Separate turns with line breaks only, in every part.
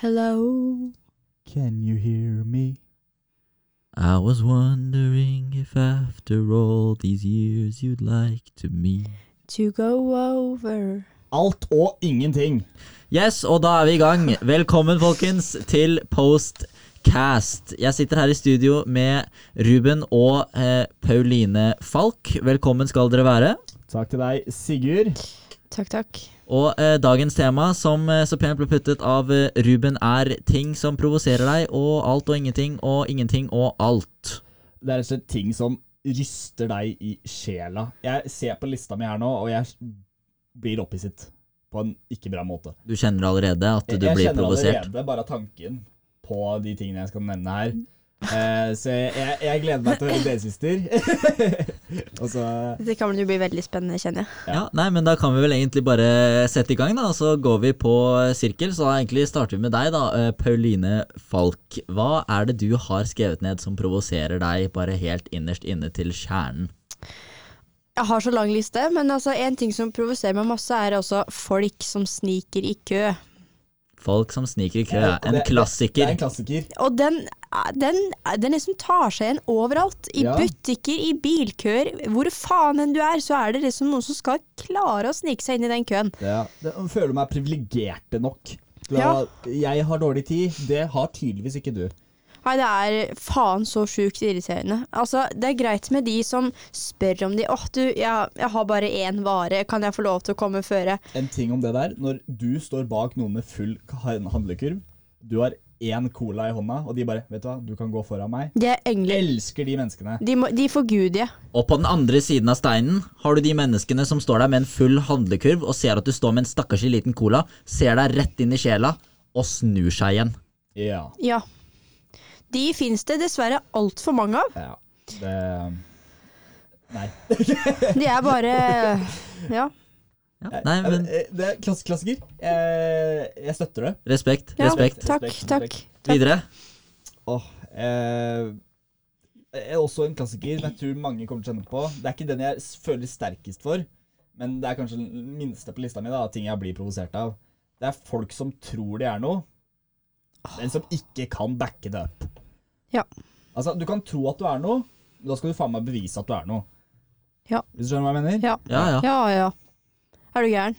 Hello.
Can you hear me?
I was wondering if after all these years you'd like to meet
To go over.
Alt og ingenting.
Yes, og da er vi i gang. Velkommen, folkens, til Postcast. Jeg sitter her i studio med Ruben og eh, Pauline Falk. Velkommen skal dere være.
Takk til deg, Sigurd.
Takk, takk.
Og eh, dagens tema, som eh, så pent ble puttet av eh, Ruben, er ting som provoserer deg, og alt og ingenting, og ingenting og alt.
Det er rett og slett ting som ryster deg i sjela. Jeg ser på lista mi her nå, og jeg blir opphisset på en ikke bra måte.
Du kjenner allerede at
Jeg,
du
jeg
blir
kjenner
provosert.
allerede bare tanken på de tingene jeg skal nevne her. Eh, så jeg, jeg gleder meg til å høre dere, sister. og så
Dette kan jo bli veldig spennende, kjenner jeg.
Ja, nei, men da kan vi vel egentlig bare sette i gang, da. og Så går vi på eh, sirkel. Så da egentlig starter vi med deg, da. eh, Pauline Falk. Hva er det du har skrevet ned som provoserer deg, bare helt innerst inne til kjernen?
Jeg har så lang liste, men altså en ting som provoserer meg masse, er også folk som sniker i kø.
Folk som sniker i kø.
Ja,
En
det- det er
klassiker.
en klassiker.
Og den, den, den liksom tar seg igjen overalt. I
Ja.
butikker, i bilkøer, hvor faen enn du er, så er det liksom noen som skal klare å snike seg inn i den køen.
Ja. Det, føler meg privilegerte nok. til
Ja.
å- Jeg har dårlig tid. Det har tydeligvis ikke du.
Nei, det er faen så sjukt irriterende. Altså, det er greit med de som spør om de Åh, du, jeg, jeg har bare én vare, kan jeg få lov til å komme føre?
En ting om det der, når du står bak noen med full ka- handlekurv, du har én cola i hånda, og de bare Vet du hva, du kan gå foran meg.
De er engler.
Elsker de menneskene.
De, må, de forgudige.
Og på den andre siden av steinen har du de menneskene som står der med en full handlekurv og ser at du står med en stakkarslig liten cola, ser deg rett inn i sjela og snur seg igjen.
Ja.
Ja. De fins det dessverre altfor mange av.
ja. Det Nei.
De er bare Ja.
Ja. Nei, men
Eh, Det er klass klassiker. Eh, Jeg støtter det.
respekt.
ja.
Respekt.
Takk,
Respekt,
takk.
Videre.
Åh, eh, er også en klassiker som jeg tror mange kommer til å kjenne på. Det er ikke den jeg s- føler sterkest for, men det er kanskje den minste på lista mi. da, Ting jeg blir provosert av. Det er folk som tror de er noe, men som ikke kan backe det opp.
Ja.
Altså, Du kan tro at du er noe, men da skal du faen meg bevise at du er noe.
Ja.
Hvis du skjønner hva jeg mener?
Ja.
Ja, ja.
Ja ja. Er du gæren?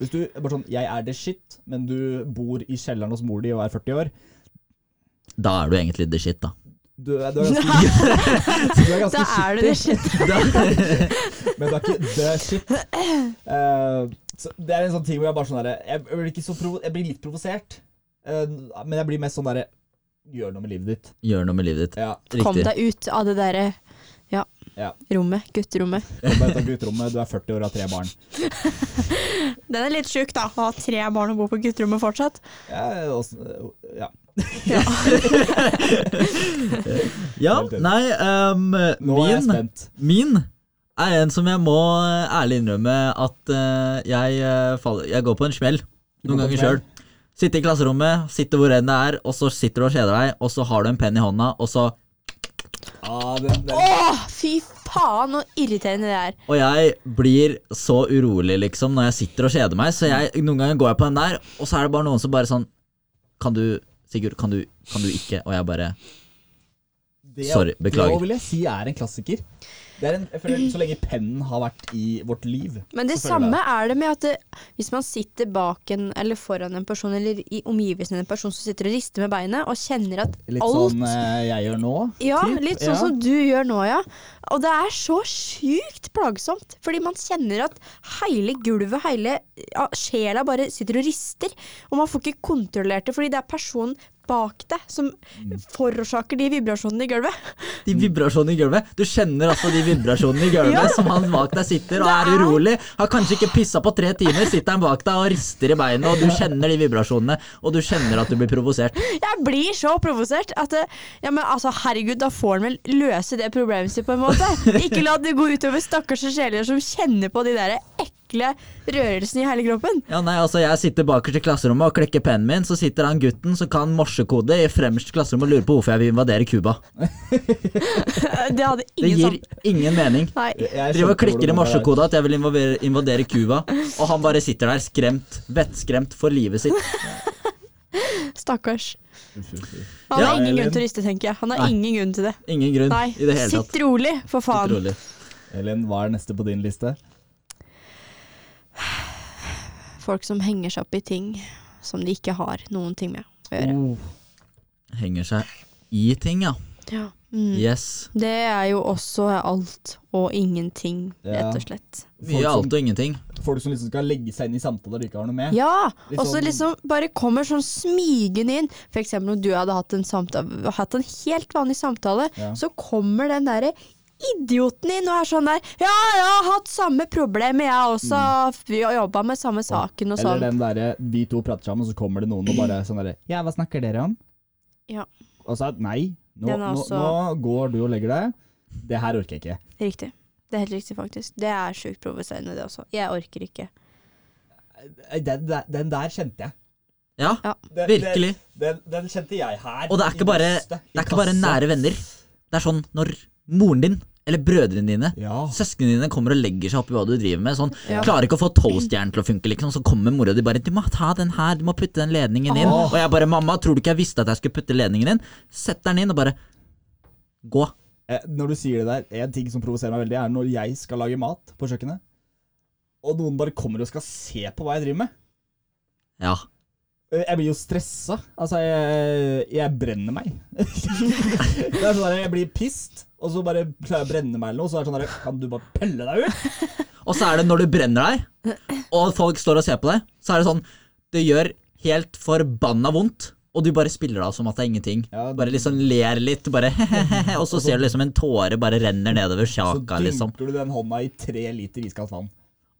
Hvis du bare sånn, Jeg er det shit, men du bor i kjelleren hos mor di og er 40 år.
Da er du egentlig the shit, da.
Du, er- du er ganske, du er ganske
Da er det det shit.
Men det er ikke det er shit. Eh, så det er en sånn ting hvor jeg bare sånn derre jeg, blir ikke så provo- jeg blir litt provosert, eh, men jeg blir mest sånn derre Gjør noe med livet ditt.
Gjør noe med livet ditt.
Ja,
Kom
Riktig.
deg ut av det derre ja.
Ja.
Rommet. Gutterommet.
kom deg ut av gutterommet, du er 40 år og har tre barn.
Den er litt sjuk, da. Å ha tre barn og bo på gutterommet fortsatt.
Ja, også, ja.
Ja,
Helt enig.
nei, ehm,
Nå er jeg
min,
spent.
min er en som jeg må eh, ærlig innrømme at eh, jeg, eh, faller, jeg går på en smell.
Du
Noen
går på
ganger
smell?
sjøl. Sitte i klasserommet, sitte hvor enn det er, og så sitter du og kjeder deg, og så har du en penn i hånda, og så
Ah, den, den.
Åh, fy faen, så irriterende det er.
Og jeg blir så urolig, liksom, når jeg sitter og kjeder meg, så jeg, noen ganger går jeg på den der, og så er det bare noen som bare sånn Kan du, Sigurd, kan du, kan du ikke? Og jeg bare
Det-
Sorry, beklager.
Det vil jeg si er en klassiker. Det er en, jeg føler Så lenge pennen har vært i vårt liv
Men det
så føler jeg
samme er det med at det, hvis man sitter bak en eller foran en person, eller i omgivelsene til en person som sitter og rister med beinet, og kjenner at
Litt
alt
sånn eh, jeg gjør nå.
Ja,
typ.
litt sånn
Ja.
som du gjør nå, ja. Og det er så sjukt plagsomt, fordi man kjenner at hele gulvet, hele ja, sjela bare sitter og rister, og man får ikke kontrollert det, fordi det er personen bak deg som
Mm.
forårsaker de vibrasjonene i gulvet.
De vibrasjonene i gulvet. Du kjenner altså de vibrasjonene i gulvet
Ja.
som han bak deg sitter og
Det
er
er-
urolig. Har kanskje ikke pissa på tre timer, sitter han bak deg og rister i beinet, og du kjenner de vibrasjonene, og du kjenner at du blir provosert.
Jeg blir så provosert at eh, ja, men altså, herregud, da får han vel løse det problemet sitt på en måte. Ikke la det gå utover stakkars sjeler som kjenner på de der ekle rørelsene i hele kroppen.
Ja, nei, altså Jeg sitter bakerst i klasserommet og klekker pennen min, så sitter han gutten som kan morsekode i fremst klasserom og lurer på hvorfor jeg vil invadere Cuba.
Eh, Det hadde
Det
ingen
gir
sånn
ingen mening.
Nei.
Jeg- jeg
Driver og
skjønte hvordan
klikker i
det var.
morsekode at jeg vil invadere, invadere Cuba, og han bare sitter der skremt, vettskremt for livet sitt.
Stakkars.
Uff, uff, uff.
Han
Ja,
har ingen
Elin.
grunn til å riste, tenker jeg. Han har
Nei.
ingen grunn til det.
Ingen grunn
Nei,
i det hele tatt.
sitt rolig, for
Sitt
faen.
rolig.
Elin, hva er neste på din liste?
Folk som henger seg opp i ting som de ikke har noen ting med å gjøre.
Oh. Henger seg i ting, ja.
Ja. Mm.
Yes.
Det er jo også alt og ingenting,
Ja.
rett og slett.
Folk
Mye alt og ingenting.
som, folk som liksom skal legge seg inn i samtaler de ikke har noe med.
Ja,
Litt
og så
sånn-
liksom bare kommer sånn smygende inn. For eksempel om du hadde hatt en, samtale, hatt en helt vanlig samtale,
Ja.
så kommer den derre idioten inn og er sånn der Ja, jeg har hatt samme problem, jeg også. Vi har jobba med samme saken og
Mm. Eller
sånn.
den derre vi to prater sammen, og så kommer det noen og bare sånn derre Ja, hva snakker dere om?
Ja.
Og så er det, nei, nå,
Den er
nå,
også-
nå går du og legger deg. Det her orker jeg ikke.
Riktig. Det er helt riktig, faktisk. Det er sjukt provoserende, det også. Jeg orker ikke.
Nei, Den, der- den der kjente jeg.
Ja,
Ja.
Den,
virkelig.
Den, den, den kjente jeg her.
Og det er
i
ikke bare,
brystet, i
det er ikke bare
kassa.
nære venner. Det er sånn når moren din eller brødrene dine
Ja.
Søsknene dine kommer og legger seg opp i hva du driver med. Sånn,
Ja.
Klarer ikke å få toastjernen til å funke, liksom. Så kommer mora di bare 'Du må ta den her, du må putte den ledningen inn'.
Åh.
Og jeg bare 'Mamma, tror du ikke jeg visste at jeg skulle putte ledningen inn?' Setter den inn og bare Gå.
Eh, Når du sier det der, en ting som provoserer meg veldig, er når jeg skal lage mat på kjøkkenet, og noen bare kommer og skal se på hva jeg driver med.
Ja.
Eh, Jeg blir jo stressa. Altså, jeg, jeg brenner meg. det er sånn der, Jeg blir pissed, og så bare klarer jeg å brenne meg eller noe, og så er det sånn der, Kan du bare pelle deg ut?
Og så er det når du brenner deg, og folk står og ser på deg, så er det sånn Det gjør helt forbanna vondt, og du bare spiller det av som at det er ingenting.
Ja,
Bare liksom ler litt, bare og så ser du liksom en tåre bare renner nedover
Så
sjaka,
dunker
liksom.
du den hånda i tre liter iskaldt vann.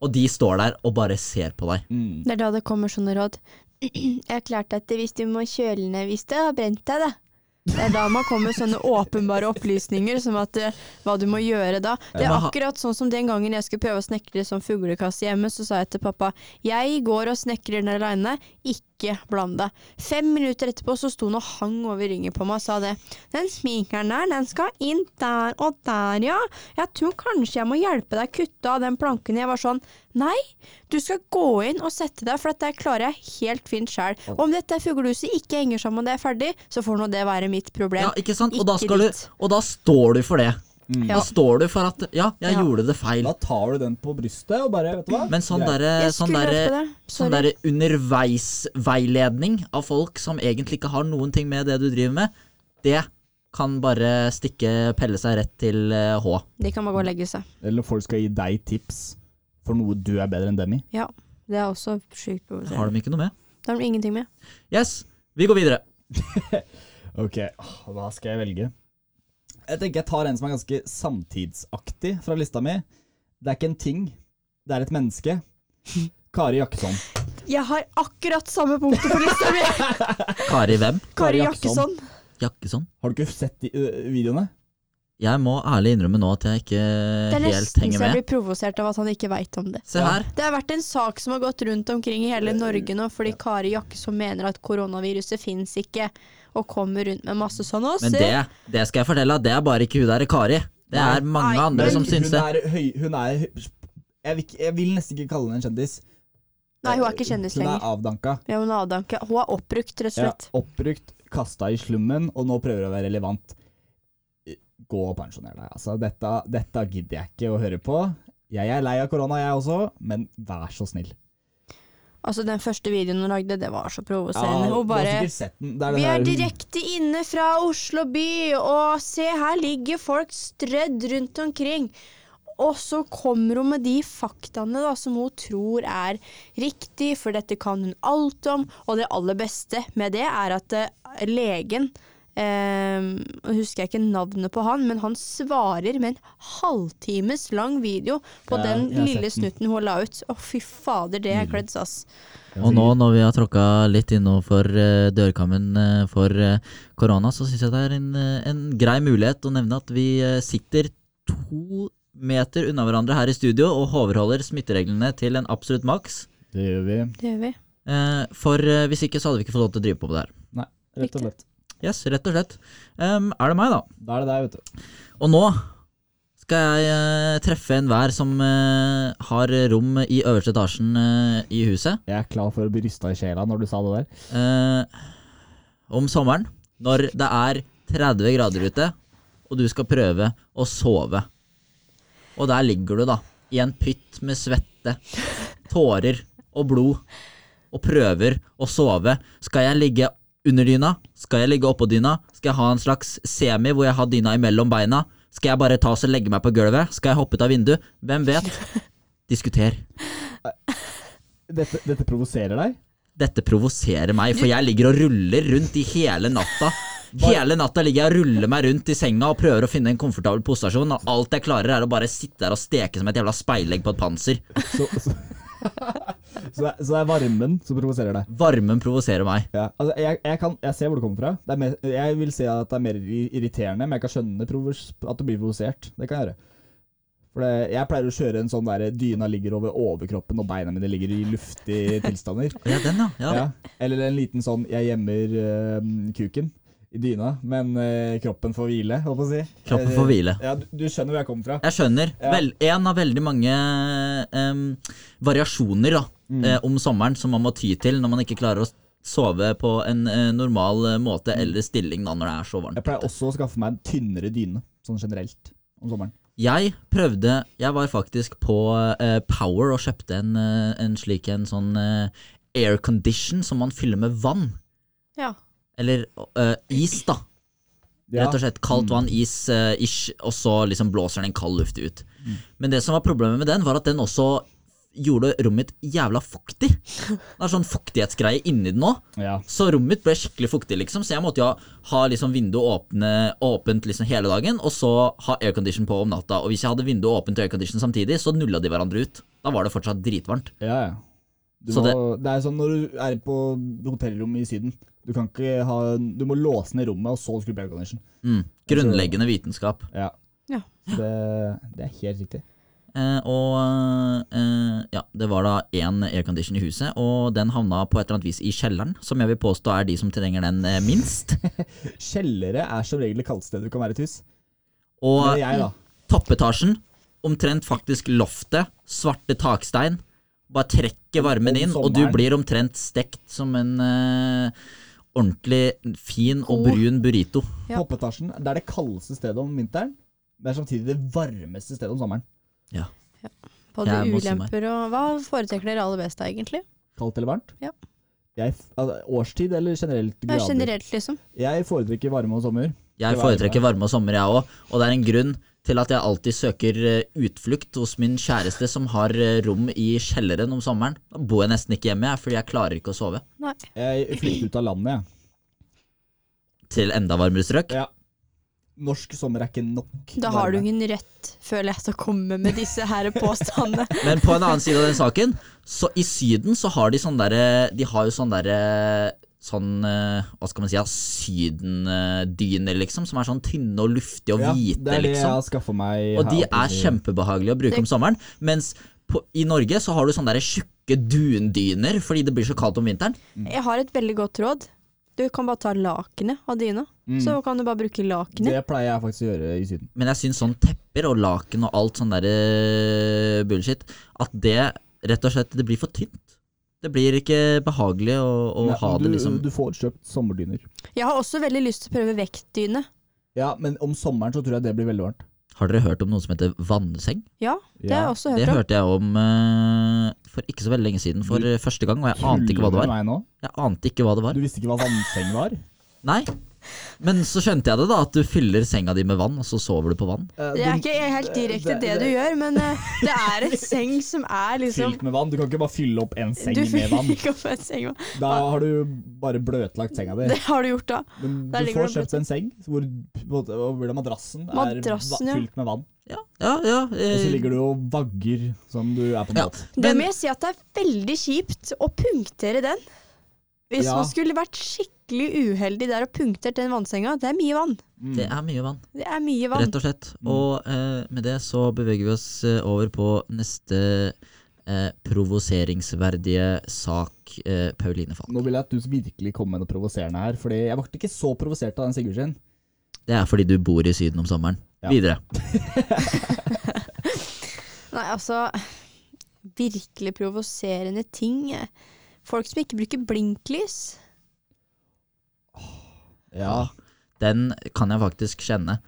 Og de står der og bare ser på deg.
Mm.
Det er da det kommer sånne råd. Jeg har klart at hvis du må kjøle ned hvis det har brent deg, da. Det er da man kommer med sånne åpenbare opplysninger som at eh, hva du må gjøre da. Det er
men ha-
akkurat sånn som den gangen jeg skulle prøve å snekre sånn fuglekasse hjemme, så sa jeg til pappa jeg går og snekrer den aleine, ikke bland deg. Fem minutter etterpå så sto han og hang over ryggen på meg og sa det. Den spikeren der, den skal inn der og der, ja. Jeg tror kanskje jeg må hjelpe deg kutte av den planken. Jeg var sånn nei, du skal gå inn og sette deg, for dette klarer jeg helt fint sjøl. Om dette fuglehuset ikke henger sammen når det er ferdig, så får nå det være mitt problem.
Ja, ikke sant? Og da,
Ikke
skal du,
ditt.
og da står du for det.
Ja.
Da står du for at Ja, jeg
Ja.
gjorde det feil.
Da tar du den på brystet og bare Vet du hva?
Men sånn
Greit.
derre
Jeg
sånn
skulle
derre-
ønske det. Sorry.
sånn derre underveisveiledning av folk som egentlig ikke har noen ting med det du driver med, det kan bare stikke pelle seg rett til eh, H.
De kan bare gå og legge seg.
Eller når folk skal gi deg tips for noe du er bedre enn dem i.
Ja, det er også sjukt
Det har
provoserende.
de ikke noe med.
Det har de ingenting med.
Yes, vi går videre.
Ok, åh, hva skal jeg velge? Jeg tenker jeg tar en som er ganske samtidsaktig fra lista mi. Det er ikke en ting, det er et menneske. Kari Jakkesson.
Jeg har akkurat samme punktet på lista mi!
Kari hvem?
Kari
Kari
Jakkesson.
Jakkesson.
Jakkesson?
Har du ikke sett de ø, videoene?
Jeg må ærlig innrømme nå at jeg ikke
Det er
helt
nesten
henger
så jeg
med.
blir provosert av at han ikke veit om det.
Se
Ja.
her.
Det har vært en sak som har gått rundt omkring i hele Norge nå, fordi Kari Jakkesson mener at koronaviruset fins ikke, og kommer rundt med masse sånn. Å,
Men
se!
det, det skal jeg fortelle, at det er bare ikke hun der Kari. Det er mange
Nei,
andre
men
som
hun
syns det.
er høy... Hun er jeg vil, ikke, jeg vil nesten ikke kalle henne en kjendis.
Nei, hun er ikke kjendis
Hun
lenger.
er avdanka.
Ja, hun er avdanka. Hun er oppbrukt, rett og
Ja,
slett.
oppbrukt, kasta i slummen, og nå prøver å være relevant. Gå og pensjoner deg. Altså, dette, dette gidder jeg ikke å høre på. Jeg er lei av korona, jeg også, men vær så snill.
Altså, den første videoen hun lagde, det var så
Ja,
provoserende. Hun
du har
bare
sikkert sett den. Det er
Vi
den
er
der-
direkte inne fra Oslo by, og se her ligger folk strødd rundt omkring. Og så kommer hun med de faktaene da, som hun tror er riktig, for dette kan hun alt om. Og det aller beste med det er at eh, legen eh, nå husker jeg ikke navnet på han, men han svarer med en halvtimes lang video på
Ja,
den
jeg har
lille
sett den. Mm.
snutten hun la ut. Å, fy fader, det er kledd sass.
Og nå når vi har tråkka litt innover eh, dørkammen eh, for eh, korona, så syns jeg det er en, eh, en grei mulighet å nevne at vi eh, sitter to meter unna hverandre her i studio og overholder smittereglene til en absolutt maks.
Det gjør vi,
Det gjør vi.
Eh, For eh, hvis ikke så hadde vi ikke fått lov til å drive på med det her.
rett og slett.
Yes, rett og slett. Em, er det meg, da?
Da er det deg, vet du.
Og nå skal jeg eh, treffe enhver som eh, har rom i øverste etasjen eh, i huset.
Jeg er klar for å bli rysta i sjela når du sa det der.
Eh, om sommeren, når det er 30 grader ute, og du skal prøve å sove. Og der ligger du, da, i en pytt med svette, tårer og blod, og prøver å sove. Skal jeg ligge under dyna? Skal jeg ligge oppå dyna? Skal jeg ha en slags semi hvor jeg har dyna imellom beina? Skal jeg bare ta oss og legge meg på gulvet? Skal jeg hoppe ut av vinduet? Hvem vet? Diskuter.
Dette, dette provoserer deg?
Dette provoserer meg, for jeg ligger og ruller rundt i hele natta. Hele natta ligger jeg og ruller meg rundt i senga og prøver å finne en komfortabel posisjon, og alt jeg klarer, er å bare sitte der og steke som et jævla speilegg på et panser.
Så, så, så, det er- så det er varmen som provoserer deg?
Varmen provoserer meg.
Ja. Altså, jeg, jeg, kan, jeg ser hvor det kommer fra. Det er mer, jeg vil si at det er mer i- irriterende, men jeg kan skjønne provos at du blir provosert. Det kan jeg gjøre. For det, jeg pleier å kjøre en sånn der dyna ligger over overkroppen, og beina mine ligger i luftige tilstander.
Ja, den, ja. ja.
Ja. Eller en liten sånn 'jeg gjemmer eh, kuken' i dyna, men eh, kroppen får hvile, holdt på å si.
Kroppen får hvile.
Ja, du, du skjønner hvor jeg kommer fra.
Jeg skjønner.
Ja.
Vel, en av veldig mange em, variasjoner da, eh, om sommeren som man må ty til når man ikke klarer å sove på en eh, normal eh, måte eller stilling da, når det er så varmt.
Jeg pleier også å skaffe meg en tynnere dyne, sånn generelt, om sommeren.
Jeg prøvde Jeg var faktisk på eh, Power og kjøpte en, eh, en slik en sånn eh, aircondition som man fyller med vann.
Ja.
Eller eh, is, da.
Ja.
Rett og slett kaldt vann, is, eh, ish, og så liksom blåser den kald luft ut. Men det som var problemet med den, var at den også gjorde rommet mitt jævla fuktig. Det er sånn fuktighetsgreie inni den òg.
Ja.
Så rommet mitt ble skikkelig fuktig, liksom, så jeg måtte jo ha, ha liksom vinduet åpne, åpent liksom hele dagen, og så ha aircondition på om natta. Og hvis jeg hadde vinduet åpent og aircondition samtidig, så nulla de hverandre ut. Da var det fortsatt dritvarmt.
Ja, ja. Du
Så
må, det... er sånn når du er på hotellrom i Syden. Du kan ikke ha Du må låse ned rommet, og så skru på aircondition.
Mm. Grunnleggende vitenskap.
Ja.
Ja.
Det, det er helt riktig.
Eh, og eh, ja, det var da én aircondition i huset, og den havna på et eller annet vis i kjelleren, som jeg vil påstå er de som trenger den eh, minst.
Kjellere er som regel det kaldeste stedet du kan være i et hus. Det er
Og
jeg, da.
toppetasjen, omtrent faktisk loftet, svarte takstein. Bare trekker varmen
Om
inn, og du
sommeren.
blir omtrent stekt som en eh, ordentlig fin og
God.
brun burrito.
Ja.
Toppetasjen det er det kaldeste stedet om vinteren. Det er samtidig det varmeste stedet om sommeren.
Både
Jeg må si meg.
ulemper og Hva foretrekker dere aller best da, egentlig?
Kaldt eller varmt?
Ja.
Jeg, f- altså, årstid eller generelt
Ja,
grader?
generelt, liksom.
Jeg foretrekker varme om sommer.
Jeg
Det var
foretrekker varme og sommer, jeg òg, og det er en grunn til at jeg alltid søker eh, utflukt hos min kjæreste, som har eh, rom i kjelleren om sommeren. Da bor jeg nesten ikke hjemme, jeg, fordi jeg klarer ikke å sove.
Nei.
Jeg flytter ut av landet, jeg.
Til enda varmere strøk.
Ja. Norsk sommer er ikke nok.
Da har du ingen rett, føler jeg, til å komme med disse her påstandene.
Men på en annen side av den saken, så i Syden så har de sånn derre De har jo sånn derre Sånn, eh, hva skal man si, ja, sydendyner, liksom, som er sånn tynne og luftige og
Ja,
hvite,
det er det jeg
liksom.
har skaffa meg.
Og de
her oppe
er
i-
kjempebehagelige å bruke om sommeren, mens på, i Norge så har du sånne derre tjukke dundyner fordi det blir så kaldt om vinteren.
Jeg har et veldig godt råd. Du kan bare ta lakenet av dyna. Så kan du bare bruke lakenet.
Det pleier jeg faktisk å gjøre i Syden.
Men jeg syns sånn tepper og laken og alt sånn der eh, bullshit, at det rett og slett det blir for tynt. Det blir ikke behagelig å, å
Nei,
ha
du,
det liksom
du får kjøpt sommerdyner.
Jeg har også veldig lyst til å prøve vektdyne.
Ja, men om sommeren så tror jeg det blir veldig varmt.
Har dere hørt om noe som heter vannseng?
Ja, det
Ja,
har jeg også
Det
hørt om.
hørte jeg om eh, for ikke så veldig lenge siden for eh, første gang, og jeg ante ikke
Tuller
hva det
du
var.
med meg nå?
Jeg ante ikke hva det var.
Du visste ikke hva vannseng var?
Nei. Men så skjønte jeg det, da. At du fyller senga di med vann, og så sover du på vann.
Eh,
Det er
du-
ikke helt direkte det,
det-
du gjør, men eh, det er et seng som er liksom
Fylt med vann? Du kan ikke bare fylle opp en seng
Du
med vann.
fyller ikke opp en seng. med-
Da har du bare bløtlagt senga di.
Det har du gjort da.
Men
der
du
ligger
får
det
kjøpt en seng hvor, hvor hvor madrassen er
Madrassen,
va-
ja.
fylt med vann.
Ja, ja, ja.
Og så
eh,
ligger du og vagger som du er på en
ja.
båt.
Det
Men
må jeg si at det er veldig kjipt å punktere den. Hvis
Ja.
man skulle vært skikkelig uheldig der og punktert den vannsenga, det er mye vann.
Mm.
det er mye vann.
Det er mye vann.
Rett og slett. Og eh, med det så beveger vi oss eh, over på neste eh, provoseringsverdige sak, eh, Pauline Falk.
Nå vil jeg at du virkelig kommer med noe provoserende her, Fordi jeg ble ikke så provosert av den Sigurd sin.
Det er fordi du bor i Syden om sommeren.
Ja.
Videre.
Nei, altså Virkelig provoserende ting. Folk som ikke bruker blinklys.
Ja.
Den kan jeg faktisk kjenne.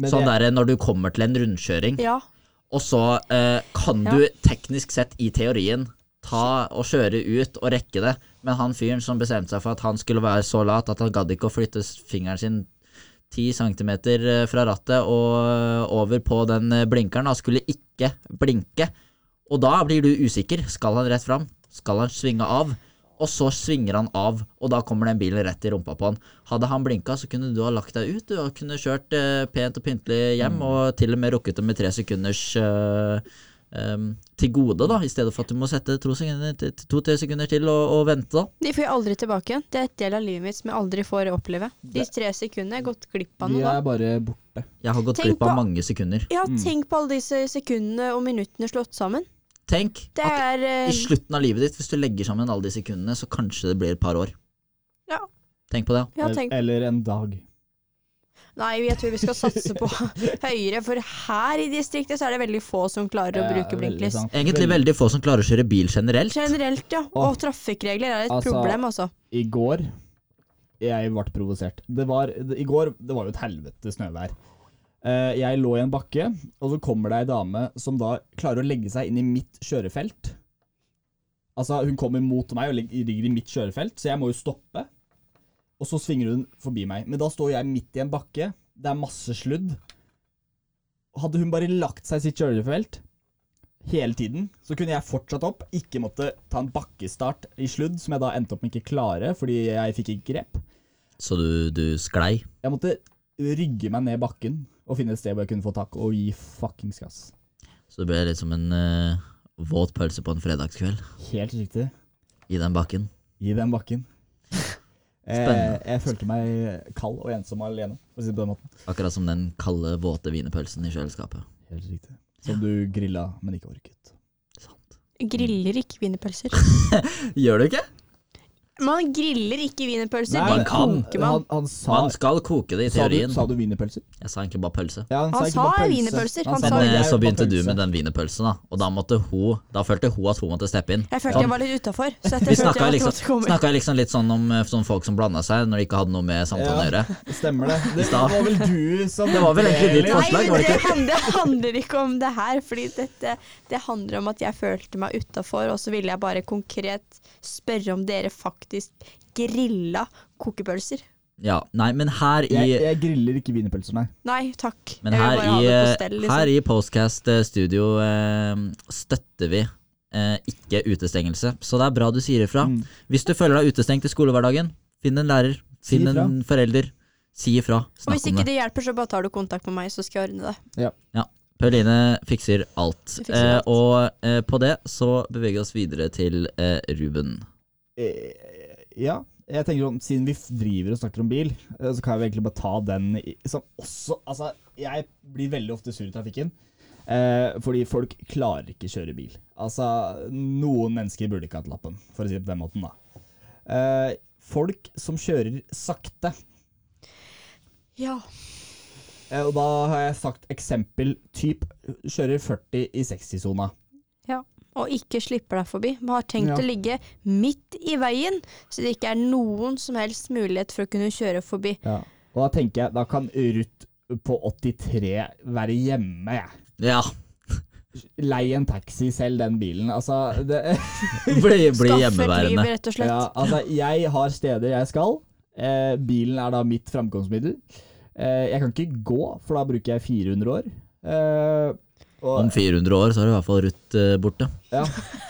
Men
sånn
det-
der, Når du kommer til en rundkjøring,
Ja.
og så eh, kan
Ja.
du teknisk sett i teorien ta og kjøre ut og rekke det, men han fyren som bestemte seg for at han skulle være så lat at han gadd ikke å flytte s- fingeren sin 10 cm fra rattet og over på den eh, blinkeren, han skulle ikke blinke. Og da blir du usikker. Skal han rett fram? Skal han svinge av? Og så svinger han av, og da kommer den bilen rett i rumpa på han. Hadde han blinka, så kunne du ha lagt deg ut. Du og kunne kjørt eh, pent og pyntelig hjem, og til og med rukket det med tre sekunders eh, em, til gode, da, i stedet for at du må sette to-tre sekunder, til- to, tre sekunder til og, og vente. da.
De får jeg aldri tilbake igjen. Det er et del av livet mitt som jeg aldri får oppleve. De tre sekundene jeg har gått glipp av
Vi
noe. da.
er bare borte.
Jeg har gått
Tenk
glipp av
på-
mange sekunder.
Ja, tenk på alle disse sekundene og minuttene slått sammen.
Tenk
Det
at
er eh,
i slutten av livet ditt, hvis du legger sammen alle de sekundene, så kanskje det blir et par år.
Ja.
Tenk på det.
Ja, tenk
Eller en dag.
Nei, jeg tror vi skal satse på høyere, for her i distriktet så er det veldig få som klarer å
Ja,
bruke
veldig
blinklys.
sant.
Egentlig veldig få som klarer å kjøre bil generelt.
Generelt, ja. Og trafikkregler er et
Altså-
problem, altså.
I går Jeg ble provosert. Det var, det, I går det var jo et helvete snøvær. Eh, jeg lå i en bakke, og så kommer det ei dame som da klarer å legge seg inn i mitt kjørefelt. Altså, hun kommer mot meg og ligger ligger i mitt kjørefelt, så jeg må jo stoppe. Og så svinger hun forbi meg. Men da står jeg midt i en bakke, det er masse sludd. Hadde hun bare lagt seg i sitt kjørefelt hele tiden, så kunne jeg fortsatt opp, ikke måtte ta en bakkestart i sludd, som jeg da endte opp med ikke klare, fordi jeg fikk ikke grep.
Så du, du sklei.
Jeg måtte rygge meg ned bakken og finne et sted hvor jeg kunne få tak og gi fuckings gass.
Så det ble litt som en eh, våt pølse på en fredagskveld
Helt riktig.
i den bakken.
I den bakken.
Spennende.
Jeg, jeg følte meg kald og ensom og alene, for å si det på den måten.
Akkurat som den kalde, våte wienerpølsen i kjøleskapet.
Helt riktig. Som du grilla, men ikke orket.
Sant.
Griller ikke wienerpølser.
Gjør du ikke?
Man griller ikke wienerpølser,
Nei,
de
man kan.
koker man.
han, han sa
Man skal koke det i
Sa du,
teorien.
sa du wienerpølser?
Jeg sa egentlig bare pølse.
Ja,
Han
ikke
sa
bare pølse.
wienerpølser, han
sa
sa
Men eh,
jeg
så
sa
begynte du
pølse.
med den wienerpølsen, da. Og da måtte hun Da følte hun at hun måtte steppe inn.
Jeg følte
Ja.
jeg var litt utafor. Så dette
Vi
følte
snakka
jeg at
liksom,
måtte komme.
snakka liksom litt sånn om eh, sånn folk som blanda seg når de ikke hadde noe med samtalen å
Ja.
gjøre.
Stemmer det. Det var vel du som
Det var vel egentlig ditt
Nei,
forslag, var
men
det
det,
ikke?
hand- det handler ikke om det her. Fordi dette, det handler om at jeg følte meg utafor, og så ville jeg bare konkret spørre om dere faktisk grilla kokepølser.
Ja, nei, men her i
Jeg, jeg griller ikke wienerpølser, nei.
Nei takk.
Men
jeg vil
her
bare ha
i, eh,
det på stell, liksom.
her i Postcast eh, Studio eh, støtter vi eh, ikke utestengelse, så det er bra du sier ifra.
Mm.
Hvis du føler deg utestengt i skolehverdagen, finn en lærer,
Si
finn
ifra.
en forelder. Si ifra.
Og hvis
Snakk om
ikke
det.
det hjelper, så bare tar du kontakt med meg, så skal jeg ordne det.
Ja. Pauline fikser alt.
Jeg fikser alt.
Eh, og eh, på det så beveger vi oss videre til eh, Ruben.
Eh, Ja, jeg tenker om, siden vi f- driver og snakker om bil, eh, så kan jeg jo egentlig bare ta den i- som også Altså, jeg blir veldig ofte sur i trafikken. Eh, fordi folk klarer ikke kjøre bil. Altså, noen mennesker burde ikke hatt lappen, for å si det på den måten, da. Eh, folk som kjører sakte.
Ja.
Eh, Og da har jeg sagt eksempel typ kjører 40 i 60-sona.
Og ikke slipper deg forbi. Man har tenkt
Ja.
å ligge midt i veien, så det ikke er noen som helst mulighet for å kunne kjøre forbi.
Og da tenker jeg, da kan Ruth på 83 være hjemme, jeg.
Ja,
Lei en taxi selv, den bilen. Altså, det,
bli, bli
Skaff et liv,
hjemmeværende.
rett og slett.
ja, altså jeg har steder jeg skal. Eh, bilen er da mitt framkomstmiddel. Eh, jeg kan ikke gå, for da bruker jeg 400 år. Eh, og-
Om 400 år så er det i hvert fall Ruth eh, borte.
ja,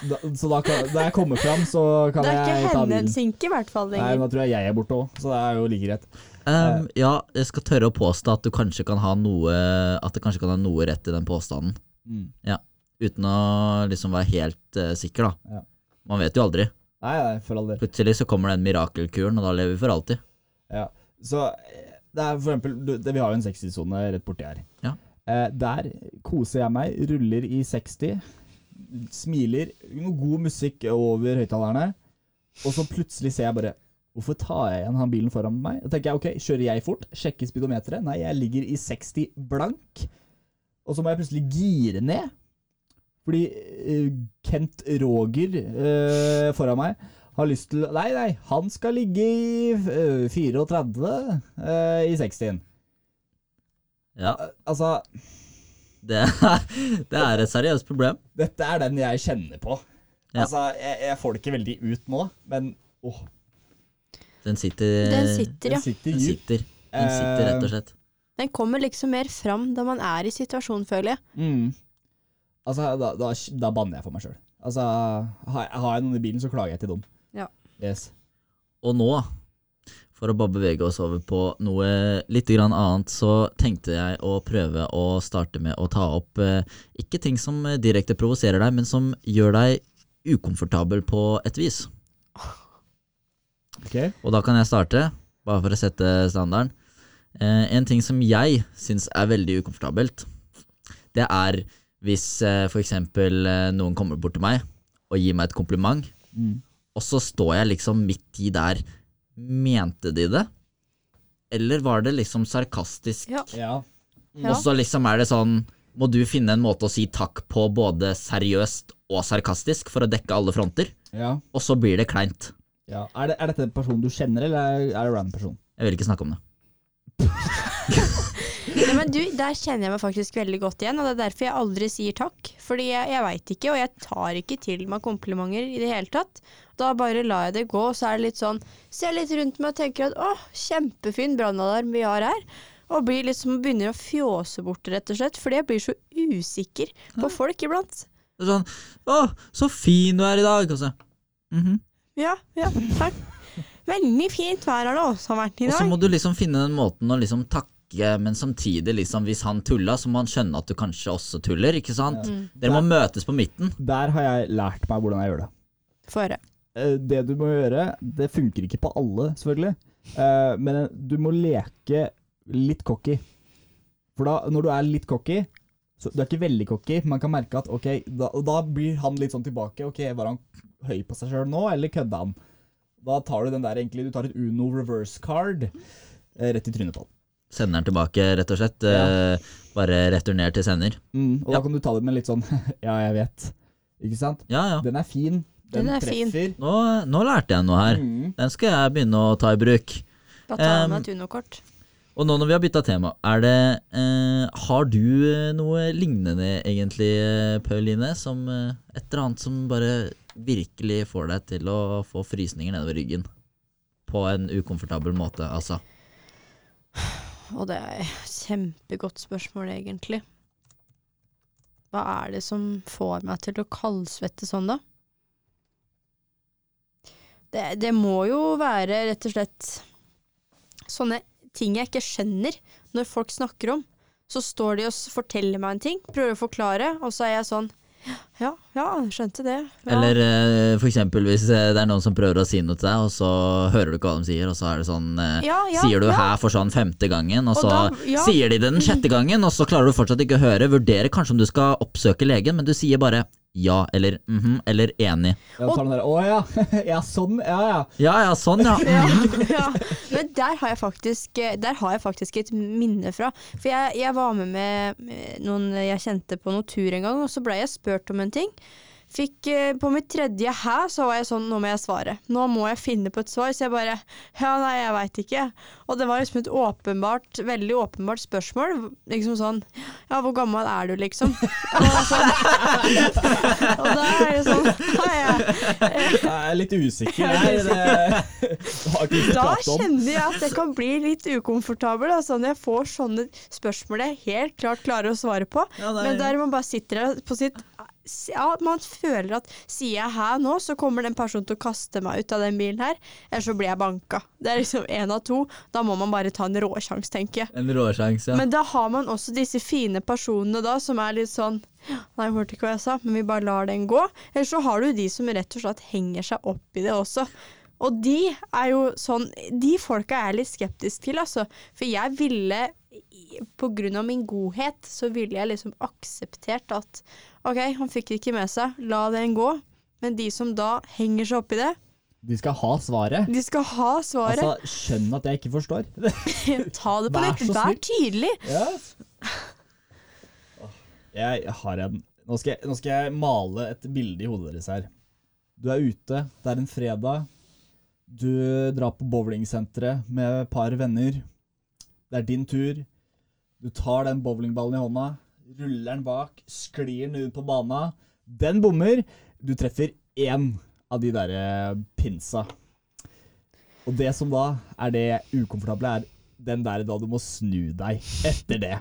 da, så da kan, da jeg kommer fram, så kan
Det er
jeg
ikke
ta bilen.
hennes sinke, i hvert fall.
Nei, men
lenger.
Da tror jeg jeg er borte òg, så det er jo like greit.
Ehm, ja, jeg skal tørre å påstå at du kanskje kan ha noe At det kanskje kan ha noe rett i den påstanden.
Mm.
Ja. Uten å liksom være helt eh, sikker, da.
Ja.
Man vet jo aldri.
Nei, nei, for all del.
Plutselig så kommer den mirakelkuren, og da lever vi for alltid.
Ja. Så eh, det er for eksempel, du, det, vi har jo en 60-sone rett borti her.
Ja.
Eh, der koser jeg meg, ruller i 60, smiler, noe god musikk over høyttalerne, og så plutselig ser jeg bare Hvorfor tar jeg igjen han bilen foran meg? Da tenker jeg, ok, Kjører jeg fort? Sjekker speedometeret? Nei, jeg ligger i 60 blank. Og så må jeg plutselig gire ned. Fordi eh, Kent Roger eh, foran meg har lyst til Nei, nei, han skal ligge i øh, 34 øh, i 60-en.
Ja,
Altså,
det er, det er et seriøst problem.
dette er den jeg kjenner på.
Ja.
Altså, jeg, jeg får det ikke veldig ut nå, men åh,
Den sitter
Den sitter, ja.
Eh, den sitter
Den
dypt.
sitter, den sitter rett og slett.
Den kommer liksom mer fram da man er i situasjonen, føler jeg.
Mm. Altså, da, da, da banner jeg for meg sjøl. Altså, har, jeg- har jeg noen i bilen, så klager jeg til dem.
Ja.
Yes.
Og nå, for å bare bevege oss over på noe litt grann annet, så tenkte jeg å prøve å starte med å ta opp eh, ikke ting som eh, direkte provoserer deg, men som gjør deg ukomfortabel på et vis.
Ok.
Og da kan jeg starte, bare for å sette standarden. Eh, en ting som jeg syns er veldig ukomfortabelt, det er hvis eh, f.eks. Eh, noen kommer bort til meg og gir meg et kompliment,
Mm.
og så står jeg liksom midt i der. Mente de det? Eller var det liksom sarkastisk?
Ja.
Ja.
Ja.
Og så liksom er det sånn Må du finne en måte å si takk på både seriøst og sarkastisk for å dekke alle fronter?
ja.
Og så blir det kleint.
ja. Er, det, er dette en person du kjenner, eller er er det en random person?
Jeg vil ikke snakke om det.
Nei, men du, Der kjenner jeg meg faktisk veldig godt igjen, og det er derfor jeg aldri sier takk. Fordi jeg, jeg veit ikke, og jeg tar ikke til meg komplimenter i det hele tatt. Da bare lar jeg det gå, og så er det litt sånn Ser litt rundt meg og tenker at åh, kjempefin brannalarm vi har her. Og blir liksom, begynner å fjåse bort, rett og slett. Fordi jeg blir så usikker på folk iblant.
Det er sånn 'Å, så fin du er i dag!' Og så, «Mhm.»
Ja, ja, takk. Veldig fint vær har det også vært i
og så
dag.
må du liksom finne den måten å liksom takke, men samtidig, liksom, hvis han tulla, så må han skjønne at du kanskje også tuller, ikke sant? Dere må møtes på midten.
Der har jeg lært meg hvordan jeg gjør det.
Få høre.
Eh, Det du må gjøre, det funker ikke på alle, selvfølgelig, eh, men du må leke litt cocky. For da, når du er litt cocky, så du er ikke veldig cocky, man kan merke at ok, da, og da blir han litt sånn tilbake. Ok, var han høy på seg sjøl nå, eller kødda han? Da tar du den der egentlig, du tar et Uno reverse card eh, rett i trynet på han.
Sender den tilbake, rett og slett.
Ja.
Eh, bare returner til sender.
Mm, og
Ja.
da kan du ta det med litt sånn ja, jeg vet. Ikke sant?
Ja, ja.
Den er fin. Den,
Den er fin.
treffer.
Nå, nå lærte jeg noe her.
Mm.
Den skal jeg begynne å ta i bruk.
Da tar jeg
Em,
med et Uno-kort.
Og nå når vi har bytta tema, er det eh, Har du eh, noe lignende egentlig, eh, Pauline? Som eh, et eller annet som bare virkelig får deg til å få frysninger nedover ryggen? På en ukomfortabel måte, altså.
Og det er et kjempegodt spørsmål, egentlig. Hva er det som får meg til å kaldsvette sånn, da? Det, det må jo være rett og slett sånne ting jeg ikke skjønner når folk snakker om. Så står de og s- forteller meg en ting, prøver å forklare, og så er jeg sånn Ja, ja, skjønte det. Ja.
Eller eh, for eksempel hvis eh, det er noen som prøver å si noe til deg, og så hører du ikke hva de sier, og så er det sånn eh,
Ja, ja,
Sier du
ja.
her for sånn femte gangen, og,
Og
så
da- ja.
sier de det den sjette gangen, og så klarer du fortsatt ikke å høre. Vurderer kanskje om du skal oppsøke legen, men du sier bare ja eller mhm eller enig.
Ja, du tar den der, Å ja. ja, sånn. Ja, ja.
Ja ja, sånn ja.
Ja, ja. Men der har, jeg faktisk, eh, der har jeg faktisk et minne fra. For jeg, jeg var med med noen jeg kjente på noen tur en gang, og så ble jeg spurt om en ting. Fikk, eh, på mitt tredje hæ, så var jeg sånn, nå må jeg svare. Nå må jeg finne på et svar, så jeg bare, ja, nei, jeg veit ikke. Og det var liksom et åpenbart, veldig åpenbart spørsmål. Liksom sånn, ja, hvor gammel er du, liksom? Og, sånn, og da er det sånn, nei, jeg,
Jeg er litt usikker her. Det, det har ikke vi
Da
pratet om.
kjenner jeg at jeg kan bli litt ukomfortabel altså, når jeg får sånne spørsmål jeg helt klart klarer å svare på.
Ja, nei.
men der man bare sitter der på sitt ja, Man føler at sier jeg her nå, så kommer den personen til å kaste meg ut av den bilen her. Eller så blir jeg banka. Det er liksom én av to. Da må man bare ta en råsjanse, tenker jeg.
En råsjanse, ja.
Men da har man også disse fine personene da, som er litt sånn Nei, jeg hørte ikke hva jeg sa, men vi bare lar den gå. Eller så har du de som rett og slett henger seg opp i det også. Og de er jo sånn De folka er jeg litt skeptisk til, altså. For jeg ville i- på grunn av min godhet, så ville jeg liksom akseptert at OK, han fikk det ikke med seg, la den gå. Men de som da henger seg opp i det,
De skal ha svaret.
de skal ha svaret.
Altså, skjønn at jeg ikke forstår.
Ta det på
vær
nytt.
så
Vær
snill.
tydelig.
Ja. Jeg har en nå skal jeg, nå skal jeg male et bilde i hodet deres her. Du er ute, det er en fredag. Du drar på bowlingsenteret med et par venner. Det er din tur. Du tar den bowlingballen i hånda, ruller den bak, sklir den ut på bana. Den bommer. Du treffer én av de der eh, pinsa. Og det som da er det ukomfortable, er den der da du må snu deg etter det.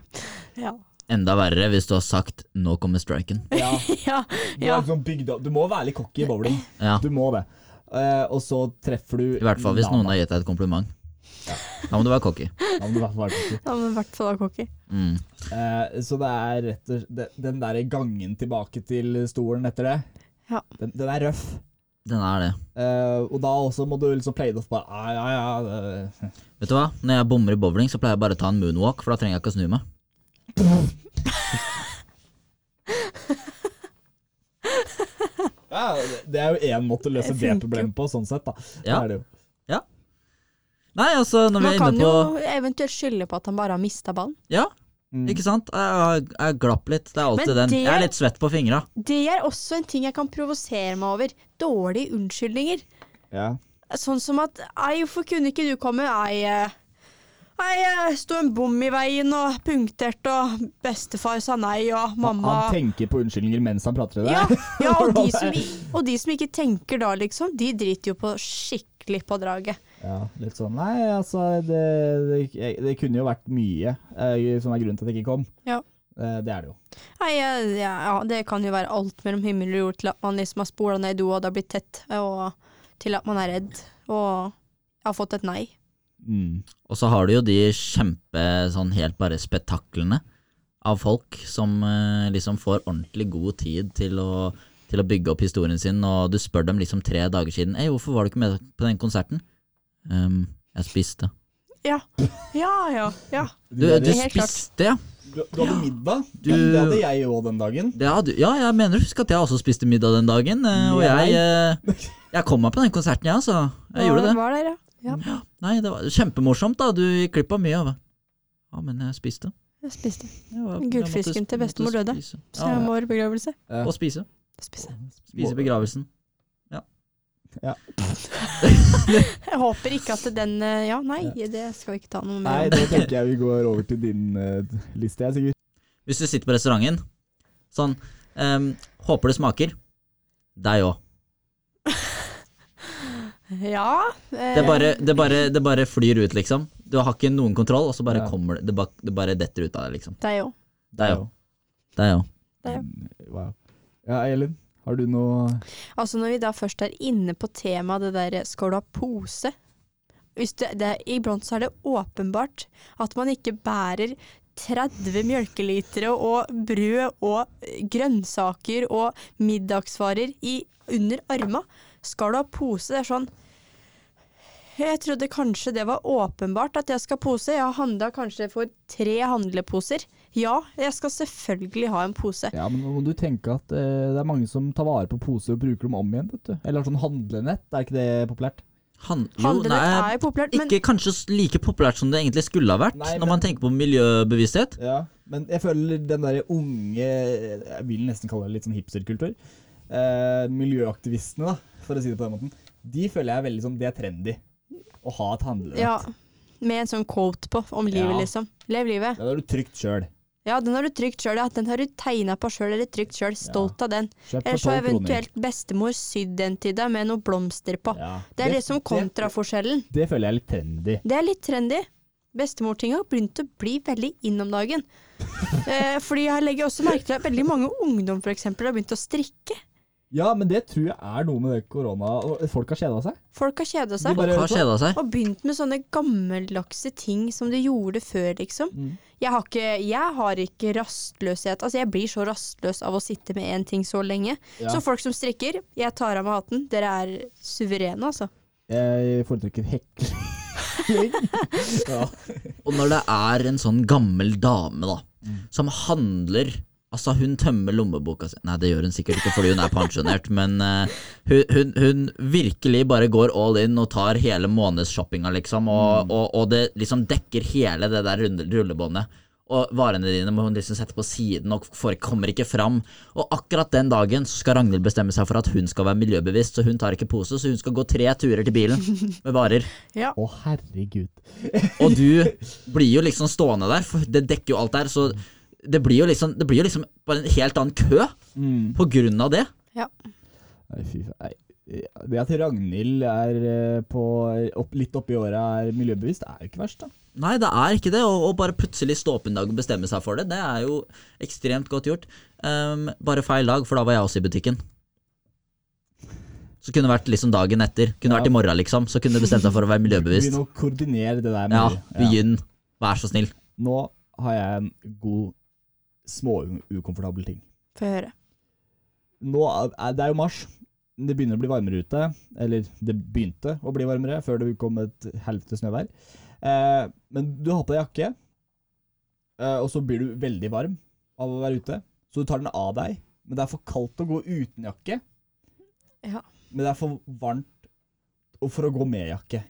Ja.
Enda verre hvis du har sagt 'nå kommer striken'.
Ja,
ja,
du, er liksom bygd opp. du må være litt cocky i bowling.
Ja.
Du må det. Eh, og så treffer du
I hvert fall hvis noen har gitt deg et kompliment. Da må du være cocky.
Ja, men du er i hvert fall cocky.
ja men i hvert fall da, cocky.
Mm.
Eh, så det er rett og slett Den der gangen tilbake til stolen etter det,
Ja.
den, den er røff.
Den er det.
Eh, og da også må du liksom play det off bare ah, Ja, ja, det-
Vet du hva? Når jeg bommer i bowling, så pleier jeg bare å ta en moonwalk, for da trenger jeg ikke å snu meg.
ja det- Det er jo én måte å løse
Det
det
funker
problemet på, sånn sett, da.
Ja.
Det er det jo.
Nei, altså, når vi
Man
er
kan
inne
jo
på
eventuelt skylde på at han bare har mista ballen.
Ja,
Mm.
ikke sant? Jeg, jeg glapp litt. Det er alltid
Men
den. Jeg er
det-
litt svett på fingra.
Det er også en ting jeg kan provosere meg over. Dårlige unnskyldninger.
Ja.
Sånn som at Ei, hvorfor kunne ikke du komme? Ei, eh, ei eh, sto en bom i veien og punkterte, og bestefar sa nei, og
Han,
mamma
han tenker på unnskyldninger mens han prater til deg.
Ja, ja og, de som, i- og de som ikke tenker da, liksom, de driter jo på skikkelig på draget.
Ja, litt sånn Nei, altså, det, det, det kunne jo vært mye eh, som er grunnen til at jeg ikke kom.
Ja.
Eh, det er det jo.
Nei, ja, ja, ja, det kan jo være alt mellom himmel og jord, til at man liksom har spola ned i do og det har blitt tett, og til at man er redd og har fått et nei.
Mm.
Og så har du jo de kjempe sånn helt bare spetaklene av folk som eh, liksom får ordentlig god tid til å, til å bygge opp historien sin, og du spør dem liksom tre dager siden Ei, hvorfor var du ikke med på den konserten? Ehm, jeg spiste.
Ja, ja, ja. ja.
Du, du
Helt klart.
spiste, ja.
Du, du hadde middag.
Du-
Ja, det hadde jeg òg den dagen.
Det hadde, ja, jeg mener husk at jeg også spiste middag den dagen, eh, og
Nei.
jeg, eh, jeg kom meg på den konserten, jeg, altså. Jeg gjorde det.
Var der, ja. ja.
Nei, det var kjempemorsomt, da. Du gikk glipp av mye. av det. Ja, men jeg spiste.
Jeg spiste.
Jeg var-
Men
jeg måtte
gullfisken
sp-
til bestemor
måtte
døde.
spise.
Så jeg
Ja,
må i begravelse.
og spise.
Spise.
Spise i begravelsen.
Jeg håper ikke at den eh, Ja, nei, det skal vi ikke ta noe
Nei,
mer om.
nå tenker jeg vi går over til din eh, liste, jeg, Sigurd.
Hvis du sitter på restauranten, sånn ehm, Håper det smaker. Deg òg.
Ja. eh,
Det, bare, det, bare, det bare flyr ut, liksom. Du har ikke noen kontroll, og så bare
Ja.
kommer det det, bak, det bare detter ut av deg, liksom.
Deg òg.
Deg òg. Deg òg.
Wow. Ja, Elin, har du noe
Altså Når vi da først er inne på temaet det der eh, skal du ha pose Hvis det, det, er- Iblant så er det åpenbart at man ikke bærer 30 mjølkelitere og brød og eh, grønnsaker og middagsvarer i, under arma. Skal du ha pose? Det er sånn Jeg trodde kanskje det var åpenbart at jeg skal ha pose. Jeg har handla kanskje for tre handleposer. Ja, jeg skal selvfølgelig ha en pose.
Ja, men nå må du tenke at eh, det er mange som tar vare på poser og bruker dem om igjen, vet du. Eller har sånn handlenett, er ikke det populært?
Han, jo,
Handlenett
nei,
er jo populært, men
ikke kanskje s- like populært som det egentlig skulle ha vært,
Nei,
når man tenker på miljøbevissthet.
Ja, men jeg føler den derre unge Jeg vil nesten kalle det litt sånn hipsterkultur. Eh, miljøaktivistene, da, for å si det på den måten. De føler jeg er veldig sånn Det er trendy å ha et handlenett.
Ja, med en sånn quote på om livet,
Ja.
liksom. Lev livet.
Den har du trygt sjøl.
Ja, den har du trygt sjøl. Ja. Den har du tegna på sjøl eller trygt sjøl. Stolt av den.
Kjøp
Eller
for
så har
12 kroner.
eventuelt bestemor sydd den til deg med noen blomster på.
Ja.
Det er liksom kontraforskjellen.
Det, det føler jeg er litt trendy.
Det er litt trendy. Bestemortinga har begynt å bli veldig inn om dagen. eh, fordi jeg legger også merke til at veldig mange ungdom for eksempel, har begynt å strikke.
Ja, men det tror jeg er noe med det korona og Folk har kjeda seg.
Folk har kjeda
De
seg.
bare-
Har kjeda seg.
Og begynt med sånne gammeldagse ting som du gjorde før, liksom.
Mm.
Jeg, har ikke, jeg har ikke rastløshet. Altså, jeg blir så rastløs av å sitte med én ting så lenge.
Ja.
Så folk som strikker, jeg tar av meg hatten. Dere er suverene, altså.
Jeg foretrekker hekling. ja.
Og når det er en sånn gammel dame da, som handler Altså, hun tømmer lommeboka si Nei, det gjør hun sikkert ikke fordi hun er pensjonert, men eh, hun, hun, hun virkelig bare går all in og tar hele månedsshoppinga, liksom, og, og, og det liksom dekker hele det der runde- rullebåndet. Og varene dine må hun liksom sette på siden og får, kommer ikke fram. Og akkurat den dagen så skal Ragnhild bestemme seg for at hun skal være miljøbevisst, så hun tar ikke pose, så hun skal gå tre turer til bilen med varer.
Ja.
Å, herregud.
Og du blir jo liksom stående der, for det dekker jo alt der, så det blir jo liksom, det blir jo liksom bare en helt annen kø
Mm.
på grunn av det.
Nei, fy faen. Nei. Eh, Det at Ragnhild er eh, på, opp, litt oppi åra er miljøbevisst, det er jo ikke verst, da.
Nei, det er ikke det. Og, og bare plutselig stå opp en dag og bestemme seg for det, det er jo ekstremt godt gjort. Ehm, bare feil dag, for da var jeg også i butikken. Så kunne det vært liksom dagen etter. Kunne
Ja.
vært i morgen, liksom. Så kunne du bestemt deg for å være miljøbevisst.
Begynn å koordinere det der. med
Ja,
det.
begynn. Vær så snill.
Nå har jeg en god småukomfortabel ting.
Få høre.
Nå er, det er jo mars. Det begynner å bli varmere ute. Eller det begynte å bli varmere før det kom et helvete snøvær. Eh, men du har på deg jakke, eh, og så blir du veldig varm av å være ute. Så du tar den av deg, men det er for kaldt å gå uten jakke.
Ja.
Men det er for varmt og for å gå med jakke.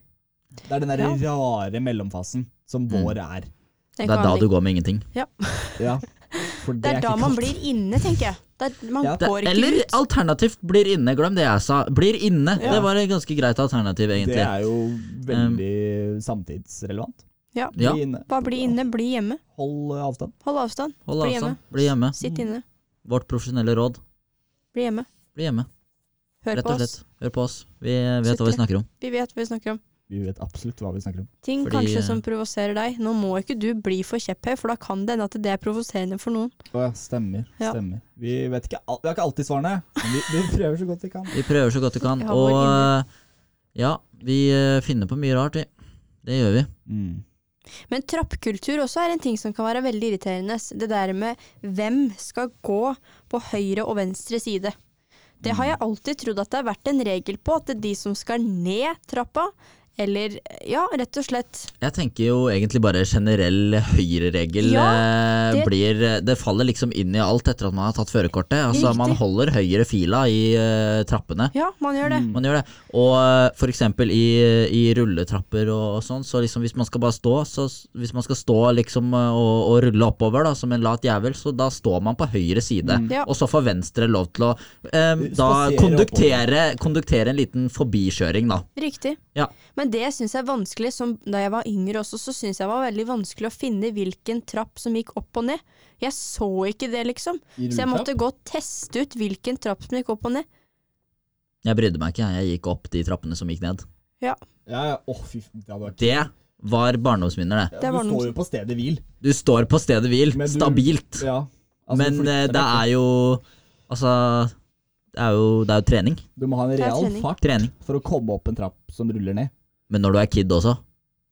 Det er den der rare mellomfasen som
Mm.
vår er.
Den
Det er
kan
da
han
du
ikke.
går med ingenting.
Ja, for
det er da
ikke
man
kaldt.
blir inne, tenker jeg. Det er, man
Ja.
Det,
går ikke
eller
ut.
alternativt blir inne. Glem det jeg sa. Blir inne.
Ja.
Det var et ganske greit alternativ,
Det
egentlig.
er jo veldig samtidsrelevant.
Ja.
Ja.
Bli inne.
Bare bli inne, bli hjemme.
Hold eh, avstand.
Hold avstand.
Hold
Bli
avstand. Bli hjemme.
Mm.
Sitt inne.
Vårt profesjonelle råd.
Bli hjemme.
Bli hjemme,
Hør
rett
på
og slett.
oss.
Hør på oss. Vi vet hva
Sitter.
vi snakker om.
Vi vet hva vi snakker om.
Vi vet absolutt hva vi snakker om.
Ting
Fordi,
kanskje
eh,
som provoserer deg. Nå må ikke du bli for kjepphøy, for da kan det hende at det er provoserende for noen.
Å ja, stemmer.
Ja.
stemmer. Vi, vet ikke, al- vi har ikke alltid svarene, men vi, vi prøver så godt vi kan.
Vi prøver så godt vi kan.
Vi har vår
Og
indre.
eh, ja, vi eh, finner på mye rart, vi. Det gjør vi. Mm.
Men trappkultur også er en ting som kan være veldig irriterende. Det der med hvem skal gå på høyre og venstre side. Det har jeg alltid trodd at det har vært en regel på, at det er de som skal ned trappa, eller ja, rett og slett
Jeg tenker jo egentlig bare generell høyreregel eh,
det-
blir Det faller liksom inn i alt etter at man har tatt førerkortet. Altså,
Riktig.
man holder høyre fila i eh, trappene.
Ja, man gjør det.
Mm.
Man gjør det. Og eh, for eksempel i, i rulletrapper og, og sånn, så liksom hvis man skal bare stå, så s- hvis man skal stå liksom eh, og, og rulle oppover da, som en lat jævel, så da står man på høyre side.
Mm.
Ja.
Og så får venstre lov til å eh, da
Spasere
konduktere, konduktere en liten forbikjøring, da.
Riktig.
Ja.
Men det syns jeg er vanskelig, som da jeg var yngre også, så syns jeg det var veldig vanskelig å finne hvilken trapp som gikk opp og ned. Jeg så ikke det, liksom.
I
Så jeg
rulletrapp?
måtte gå og teste ut hvilken trapp som gikk opp og ned.
Jeg brydde meg ikke, jeg gikk opp de trappene som gikk ned.
Ja, ja. Å, fy f- det hadde vært
Det var barndomsminner, det.
ja,
Det var
Du
noen-
står jo på stedet hvil.
Du står på stedet hvil,
Men du-
stabilt.
Ja. Altså,
Men eh, det er jo Altså, det er jo, det er jo trening.
Du må ha en
Det er
real
trening.
fart
Trening.
for å komme opp en trapp som ruller ned.
Men når du er kid også,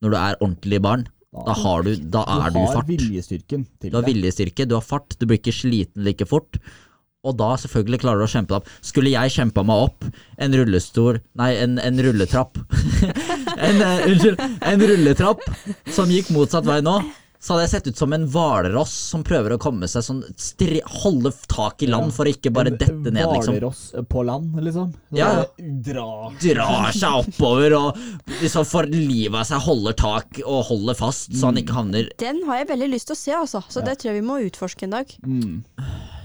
når du er ordentlig barn, da, har du, da Ah, er du i
har
fart.
viljestyrken til
Du har
det.
viljestyrke, du har fart, du blir ikke sliten like fort. Og da selvfølgelig klarer du å kjempe deg opp. Skulle jeg kjempa meg opp en rullestol Nei, en, en rulletrapp. en, eh, unnskyld, en rulletrapp som gikk motsatt vei nå, så hadde jeg sett ut som en hvalross som prøver å komme seg sånn stri, Holde tak i land for å ikke bare
En
dette ned, liksom.
Hvalross på land, liksom. Så
Ja, ja.
bare Dra.
Drar seg oppover og liksom for livet av seg holder tak og holder fast, så han ikke havner
Den har jeg veldig lyst til å se, altså. Så det tror jeg vi må utforske en dag.
Mm.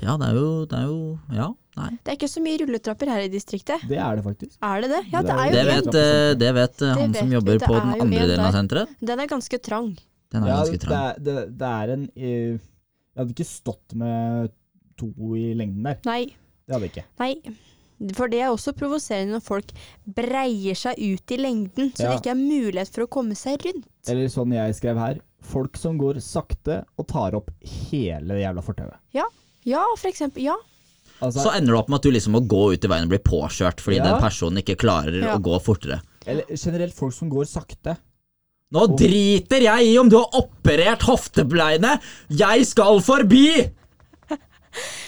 Ja, det er jo, det er jo Ja, nei.
Det er ikke så mye rulletrapper her i distriktet.
Det er det faktisk.
Er det det? Ja,
Det
det
er
er
Det
jo
en
vet,
en.
trappe
eh, det vet
Det
eh, han
vet
som
vi,
jobber
det er
på den
jo
andre
en
delen av
der.
senteret.
Den er ganske trang.
Den er
Ja,
ganske trang.
Det er, det, det er en eh, Jeg hadde ikke stått med to i lengden der.
Nei.
Det hadde jeg ikke.
Nei. For det er også provoserende når folk breier seg ut i lengden, så
Ja.
det ikke er mulighet for å komme seg rundt.
Eller sånn jeg skrev her. Folk som går sakte og tar opp hele det jævla fortauet.
Ja, for eksempel. Ja.
Altså,
Så ender det opp med at du liksom må gå ut i veien og bli påkjørt fordi
Ja.
den personen ikke klarer
Ja.
å gå fortere.
eller generelt folk som går sakte.
Nå driter jeg i om du har operert hoftebleiene! Jeg skal forbi!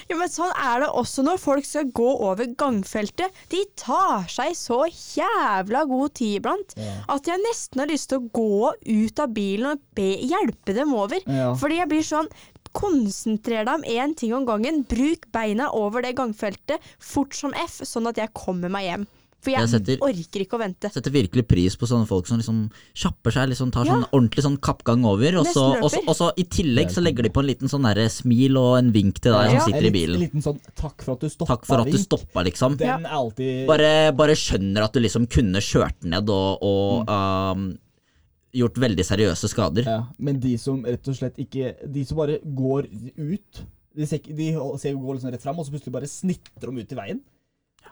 Ja, men sånn er det også når folk skal gå over gangfeltet. De tar seg så jævla god tid iblant at jeg nesten har lyst til å gå ut av bilen og be, hjelpe dem over.
Ja.
Fordi jeg blir sånn Konsentrer deg om én ting om gangen. Bruk beina over det gangfeltet fort som f, sånn at jeg kommer meg hjem. For jeg,
Jeg setter-
orker ikke å vente.
Setter virkelig pris på sånne folk som liksom kjapper seg, liksom tar
Ja.
sånn ordentlig sånn kappgang over. Og så,
Nesten løper.
og, så, og så i tillegg så legger de på en liten sånn derre smil og en vink til deg
Ja.
som sitter i bilen.
En liten sånn 'takk for at du stoppa'.
Takk for at du
Vink.
stoppa, liksom.
Den er alltid
Bare, bare skjønner at du liksom kunne kjørt ned og, og um, gjort veldig seriøse skader.
Mm. ja. Men de som rett og slett ikke De som bare går ut De ser, ikke- de ser jo går liksom rett fram, og så plutselig bare snitter de ut i veien.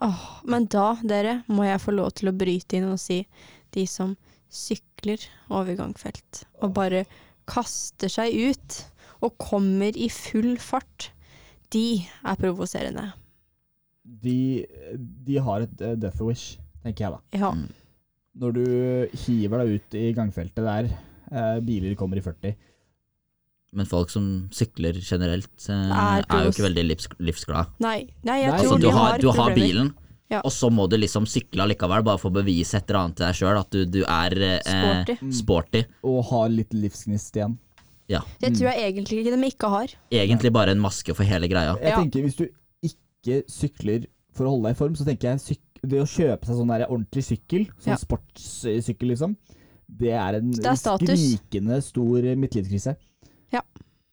Åh, men da, dere, må jeg få lov til å bryte inn og si de som sykler over gangfelt og bare kaster seg ut og kommer i full fart, de er provoserende.
De, de har et eh, death wish, tenker jeg da.
Ja.
Når du hiver deg ut i gangfeltet der, eh, biler kommer i 40
Men folk som sykler generelt, eh,
Er
er, jo ikke
provos-
veldig livs, livsglad.
Nei, nei, jeg
Nei,
tror
Så
men
de
du har,
har,
du har
problemer.
bilen,
Ja.
og så må du liksom sykle allikevel, bare for å bevise et eller annet til deg sjøl at du, du er eh,
Sporty.
sporty.
og har litt livsgnist igjen.
Ja.
Det tror jeg egentlig ikke de ikke har.
Egentlig bare en maske for hele greia.
Jeg
Ja.
tenker Hvis du ikke sykler for å holde deg i form, så tenker jeg syk det å kjøpe seg sånn der ordentlig sykkel, sånn
Ja.
sportssykkel, liksom, det er en
Det er status.
skrikende stor eh, midtlivskrise.
Ja.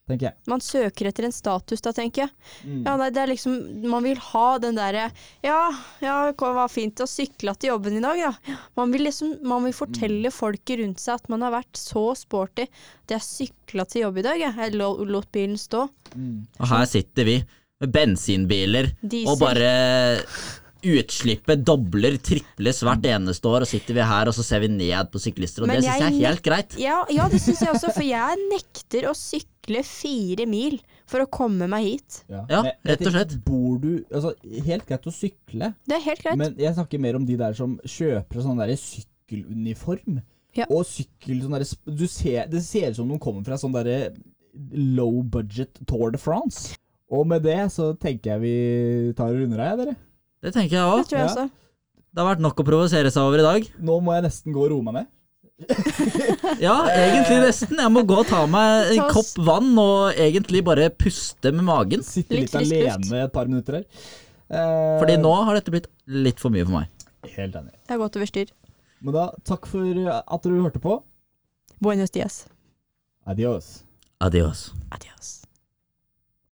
Tenker jeg.
Man søker etter en status da, tenker jeg.
Mm.
Ja, nei, det er liksom, Man vil ha den derre Ja, ja, det var fint å sykle til jobben i dag, da. Man vil liksom, man vil
Mm.
fortelle folket rundt seg at man har vært så sporty. Det er sykla til jobb i dag, jeg. Jeg lo- lot bilen stå.
Og her sitter vi med bensinbiler
Diesel.
og bare Utslippet dobler, triples hvert eneste år, og sitter vi her og så ser vi ned på syklister, og
Men
det syns
jeg
jeg er helt greit.
Ja, ja det syns jeg også, for jeg nekter å sykle fire mil for å komme meg hit.
Ja,
Men jeg
rett og
tenker,
slett.
Bor du altså, Helt greit å sykle,
Det er helt greit.
men jeg snakker mer om de der som kjøper sånn der sykkeluniform.
Ja.
Og sykkel sånn derre sp- du ser, Det ser ut som de kommer fra sånn derre low budget Tour de France. Og med det så tenker jeg vi tar og runder av, jeg, dere.
Det tenker jeg
det
òg.
tror jeg
ja.
også.
Det har vært nok å provosere seg over i dag.
Nå må jeg nesten gå og roe meg ned.
Ja, egentlig nesten. Jeg må gå og ta meg en
Ta oss-
kopp vann og egentlig bare puste med magen.
Sitte
Litt
litt,
frisk luft.
alene et par minutter her. Eh,
Fordi nå har dette blitt litt for mye for meg.
Helt enig.
Det er godt over styr.
Men da, takk for at dere hørte på.
Buenos dias.
Adios.
Adios.
Adios.